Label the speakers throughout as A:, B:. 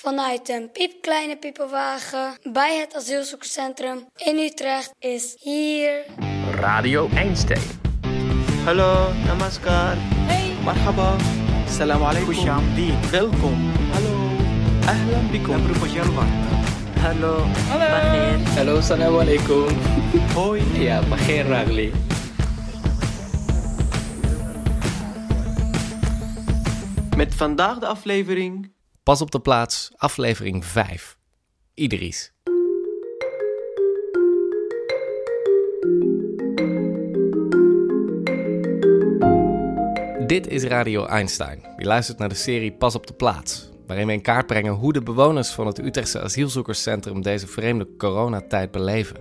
A: vanuit een piepkleine piepenwagen bij het asielzoekerscentrum in Utrecht is hier.
B: Radio Einstein.
C: Hallo, namaskar.
D: Hey.
C: Marhaba. Salam
E: خوش
C: alaikum.
E: آمدید
C: Welkom. Hallo. Ahlan bikum.
E: امرو خوش آمدید
C: Hallo.
D: Hallo.
F: Hallo, salam alaikum.
C: Hoi.
F: Ja, begin Ragli.
C: Met vandaag de aflevering.
B: Pas op de plaats, aflevering 5. Idris. Dit is Radio Einstein. Je luistert naar de serie Pas op de plaats, waarin we in kaart brengen hoe de bewoners van het Utrechtse asielzoekerscentrum deze vreemde coronatijd beleven.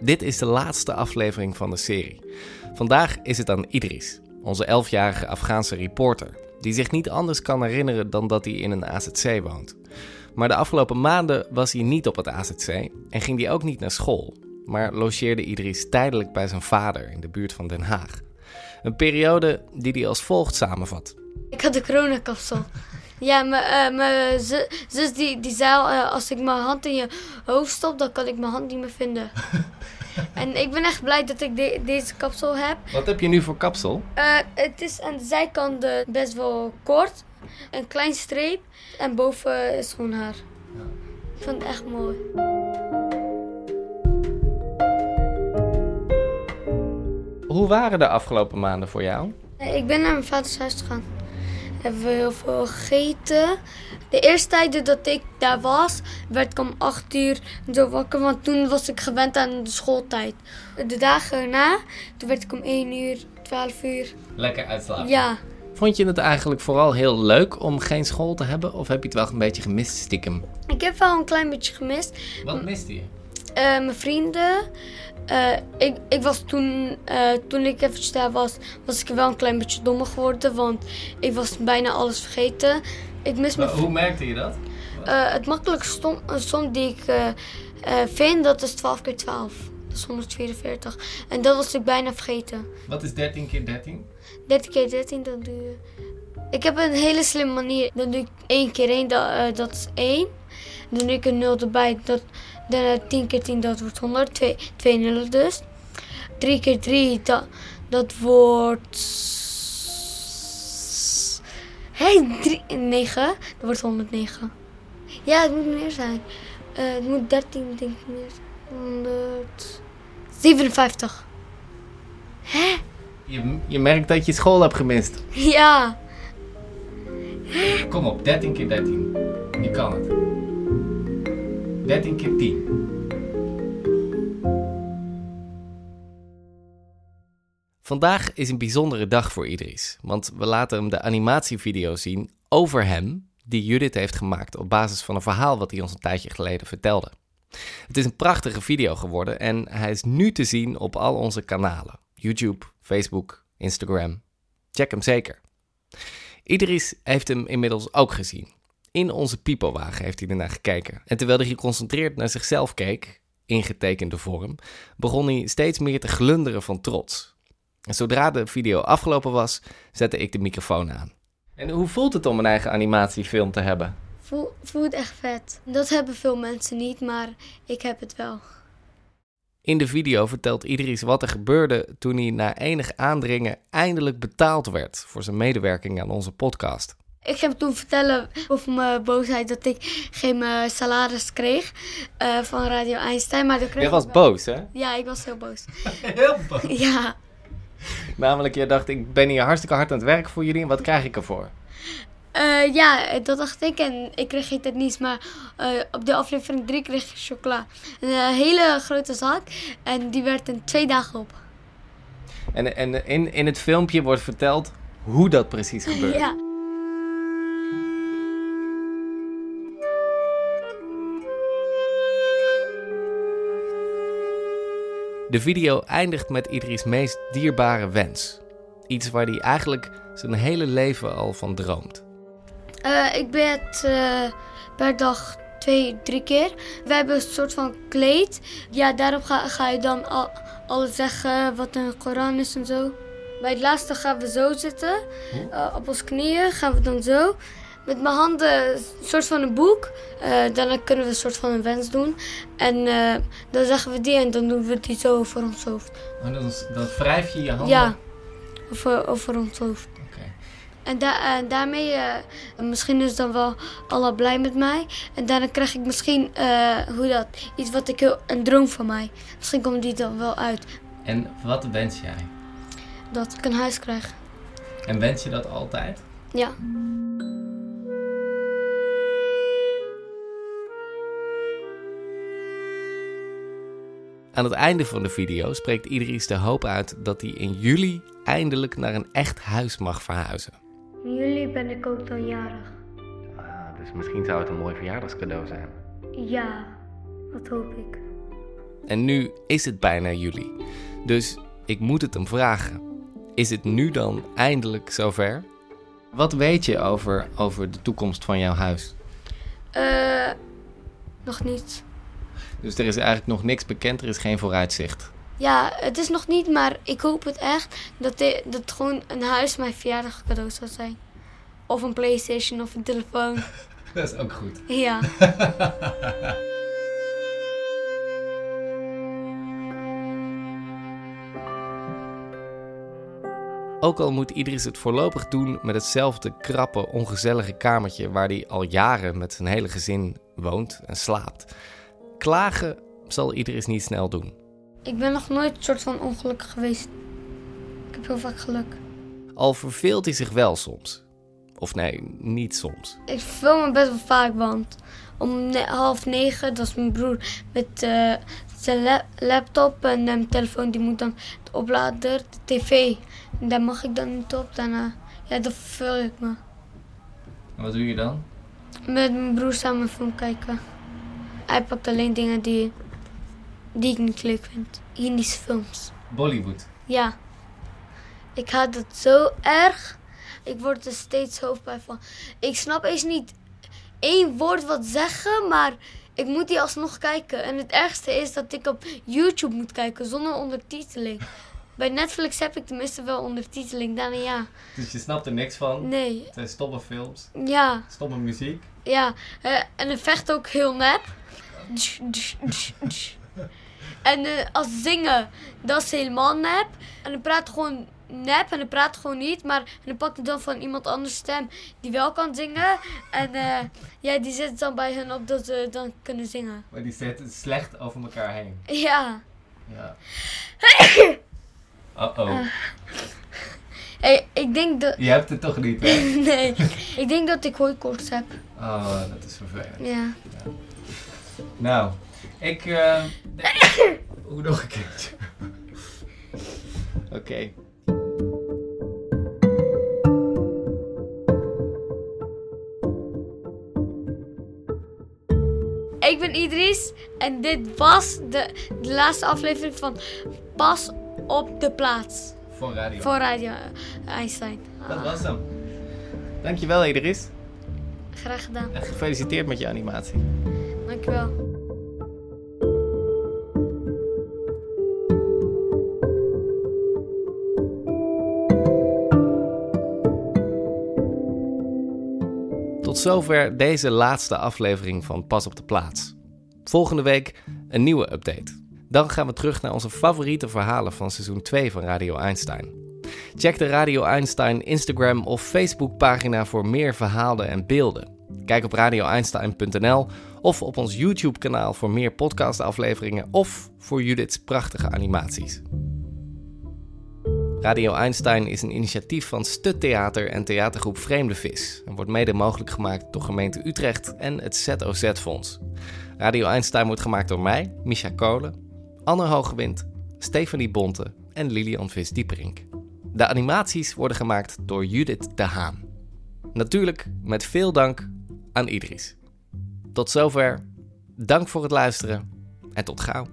B: Dit is de laatste aflevering van de serie. Vandaag is het aan Idris, onze 11-jarige Afghaanse reporter, die zich niet anders kan herinneren dan dat hij in een AZC woont. Maar de afgelopen maanden was hij niet op het AZC en ging hij ook niet naar school, maar logeerde Idris tijdelijk bij zijn vader in de buurt van Den Haag. Een periode die hij als volgt samenvat.
A: Ik had de coronakapsel. Ja, mijn eh, mijn zu- zus die, die zei al, eh, als ik mijn hand in je hoofd stop, dan kan ik mijn hand niet meer vinden. en ik ben echt blij dat ik de- deze kapsel heb.
B: Wat heb je nu voor kapsel?
A: Eh, het is aan de zijkanten best wel kort. Een klein streep. En boven is gewoon haar. Ik vind het echt mooi.
B: Hoe waren de afgelopen maanden voor jou?
A: Eh, Ik ben naar mijn vaders huis gegaan. Hebben we heel veel gegeten. De eerste tijd dat ik daar was, werd ik om 8 uur zo wakker. Want toen was ik gewend aan de schooltijd. De dagen erna, toen werd ik om 1 uur, 12 uur.
B: Lekker uitslapen.
A: Ja.
B: Vond je het eigenlijk vooral heel leuk om geen school te hebben? Of heb je het wel een beetje gemist stiekem?
A: Ik heb wel een klein beetje gemist.
B: Wat miste je?
A: Eh, mijn vrienden. Eh, ik, ik was toen, eh, toen ik eventjes daar was, was ik wel een klein beetje dommer geworden. Want ik was bijna alles vergeten. Ik mis mijn vri-
B: merkte je dat?
A: eh, Het makkelijkste som, eh, som die ik eh, eh, vind, dat is 12 keer 12. Dat is 144. En dat was ik bijna vergeten.
B: Wat is 13 keer 13?
A: 13 keer 13, dat doe je. Ik heb een hele slimme manier. Dan doe ik 1 keer 1, dat, eh, dat is 1. Dan doe ik een 0 erbij. Dat, dan eh, 10 keer 10, dat wordt 100. 2, 2 nullen dus. 3 keer 3, dat, dat wordt. Hé, hey, 9. Dat wordt 109. Ja, het moet meer zijn. Eh, het moet 13, denk ik meer zijn. 157.
B: Je, je merkt dat je school hebt gemist.
A: Ja.
B: Kom op, 13 keer 13. Je kan het. 13 keer 10. Vandaag is een bijzondere dag voor Idris, want we laten hem de animatievideo zien over hem die Judith heeft gemaakt op basis van een verhaal wat hij ons een tijdje geleden vertelde. Het is een prachtige video geworden en hij is nu te zien op al onze kanalen: YouTube, Facebook, Instagram. Check hem zeker. Idris heeft hem inmiddels ook gezien. In onze piepelwagen heeft hij ernaar gekeken. En terwijl hij geconcentreerd naar zichzelf keek, ingetekende vorm, begon hij steeds meer te glunderen van trots. En zodra de video afgelopen was, zette ik de microfoon aan. En hoe voelt het om een eigen animatiefilm te hebben?
A: Voel, voel het echt vet. Dat hebben veel mensen niet, maar ik heb het wel.
B: In de video vertelt Idris wat er gebeurde toen hij na enig aandringen eindelijk betaald werd voor zijn medewerking aan onze podcast.
A: Ik ging toen vertellen over mijn boosheid dat ik geen eh, salaris kreeg eh, van Radio Einstein. Maar dat kreeg
B: Je
A: ik
B: was
A: wel.
B: boos, hè?
A: Ja, ik was heel boos.
B: Heel boos.
A: ja,
B: Namelijk, je dacht, ik ben hier hartstikke hard aan het werk voor jullie en wat krijg ik ervoor?
A: Eh, ja, dat dacht ik en ik kreeg geen tijd niets. Maar eh, op de aflevering 3 kreeg ik chocola. Een eh, hele grote zak en die werd in twee dagen op.
B: En, en in, in het filmpje wordt verteld hoe dat precies gebeurt.
A: Ja.
B: De video eindigt met Idris meest dierbare wens. Iets waar hij eigenlijk zijn hele leven al van droomt.
A: Eh, ik bed eh, per dag twee, drie keer. We hebben een soort van kleed. Ja, daarop ga, ga je dan al, alles zeggen wat in de Koran is en zo. Bij het laatste gaan we zo zitten. eh, op ons knieën gaan we dan zo. met mijn handen een soort van een boek. Eh, daarna kunnen we een soort van een wens doen. En eh, dan zeggen we die en dan doen we die zo voor ons hoofd.
B: Oh, dan, dan wrijf je je handen?
A: Ja, over, over ons hoofd.
B: Oké.
A: En, da- en daarmee, eh, misschien is dan wel Allah blij met mij. En daarna krijg ik misschien, eh, hoe dat, iets wat ik heel, een droom van mij. Misschien komt die dan wel uit,
B: En wat wens jij?
A: dat ik een huis krijg.
B: En wens je dat altijd?
A: Ja.
B: Aan het einde van de video spreekt Idris de hoop uit dat hij in juli eindelijk naar een echt huis mag verhuizen.
A: In juli ben ik ook dan jarig.
B: dus misschien zou het een mooi verjaardagscadeau zijn.
A: Ja, dat hoop ik.
B: En nu is het bijna juli. Dus ik moet het hem vragen. Is het nu dan eindelijk zover? Wat weet je over, over de toekomst van jouw huis?
A: Eh, nog niet.
B: Dus er is eigenlijk nog niks bekend, er is geen vooruitzicht.
A: Ja, het is nog niet, maar ik hoop het echt dat, dit, dat gewoon een huis mijn verjaardag cadeau zou zijn. Of een Playstation of een telefoon.
B: Dat is ook goed.
A: ja.
B: Ook al moet Idris het voorlopig doen met hetzelfde krappe, ongezellige kamertje waar hij al jaren met zijn hele gezin woont en slaapt. Klagen zal Idris niet snel doen.
A: Ik ben nog nooit soort van ongelukkig geweest. Ik heb heel vaak geluk.
B: Al verveelt hij zich wel soms. Of nee, niet soms.
A: Ik verveel me best wel vaak, want om ne- half negen, dat is mijn broer, met eh, zijn la- laptop en mijn telefoon, die moet dan de oplader, de tv. En daar mag ik dan niet op, daarna, ja, dan verveel ik me.
B: wat doe je dan?
A: Met mijn broer samen een film kijken. Hij pakt alleen dingen die, die ik niet leuk vind. Indische films.
B: Bollywood.
A: Ja. Ik haat dat zo erg. Ik word er steeds hoofdpijn van. Ik snap eens niet één woord wat zeggen, maar ik moet die alsnog kijken. En het ergste is dat ik op YouTube moet kijken zonder ondertiteling. Bij Netflix heb ik tenminste wel ondertiteling. Daarna ja.
B: Dus je snapt er niks van.
A: Nee.
B: Het zijn stomme films,
A: Ja.
B: stomme muziek.
A: Ja, eh, en het vecht ook heel nep. Dsch, dsch, dsch, dsch. En eh, als zingen, dat is helemaal nep. En dan praat gewoon nep en dan praat gewoon niet. Maar en dan pakt hij dan van iemand anders stem die wel kan zingen. En eh, ja, die zit dan bij hun op dat ze dan kunnen zingen.
B: Maar die zetten slecht over elkaar heen.
A: Ja.
B: Ja. Uh-oh.
A: Hey, ik denk dat...
B: Je hebt het toch niet, hè?
A: Nee, ik denk dat ik hooikoorts heb.
B: Oh, dat is vervelend.
A: Ja.
B: Nou, ik. eh, Hoe nog een keertje? Oké.
A: Ik ben Idris en dit was de, de laatste aflevering van Pas op de plaats.
B: Voor radio.
A: Voor Radio Einstein.
B: Dat was hem. Dankjewel, Idris.
A: Graag gedaan.
B: En gefeliciteerd met je animatie.
A: Dankjewel.
B: Tot zover deze laatste aflevering van Pas op de Plaats. Volgende week een nieuwe update. Dan gaan we terug naar onze favoriete verhalen van seizoen 2 van Radio Einstein. Check de Radio Einstein Instagram of Facebook pagina voor meer verhalen en beelden. Kijk op radioeinstein.nl of op ons YouTube kanaal voor meer podcastafleveringen of voor Judith's prachtige animaties. Radio Einstein is een initiatief van Stut Theater en theatergroep Vreemde Vis en wordt mede mogelijk gemaakt door gemeente Utrecht en het ZOZ Fonds. Radio Einstein wordt gemaakt door mij, Misha Kolen, Anne Hogewind, Stefanie Bonte en Lilian Vis Dieperink. De animaties worden gemaakt door Judith de Haan. Natuurlijk met veel dank aan Idris. Tot zover, dank voor het luisteren en tot gauw.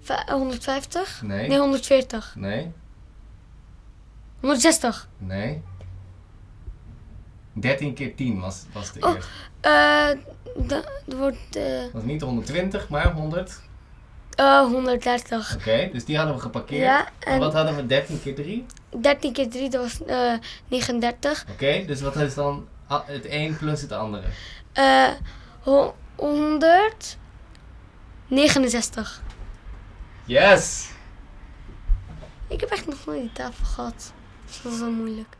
A: vij- 150?
B: Nee.
A: Nee, 140.
B: Nee.
A: 160.
B: Nee. 13 keer 10 was, was de
A: Oh.
B: eerste. Het
A: Eh, dat wordt eh
B: was niet 120, maar 100.
A: eh, 130.
B: Oké, dus die hadden we geparkeerd.
A: Ja,
B: en...
A: en-
B: wat hadden we 13 keer 3?
A: 13 keer 3, dat was eh 39.
B: Oké, dus wat is dan a- het een plus het andere?
A: Eh, ho- 169.
B: Yes!
A: Ik heb echt nog nooit die tafel gehad. Dus dat is wel moeilijk.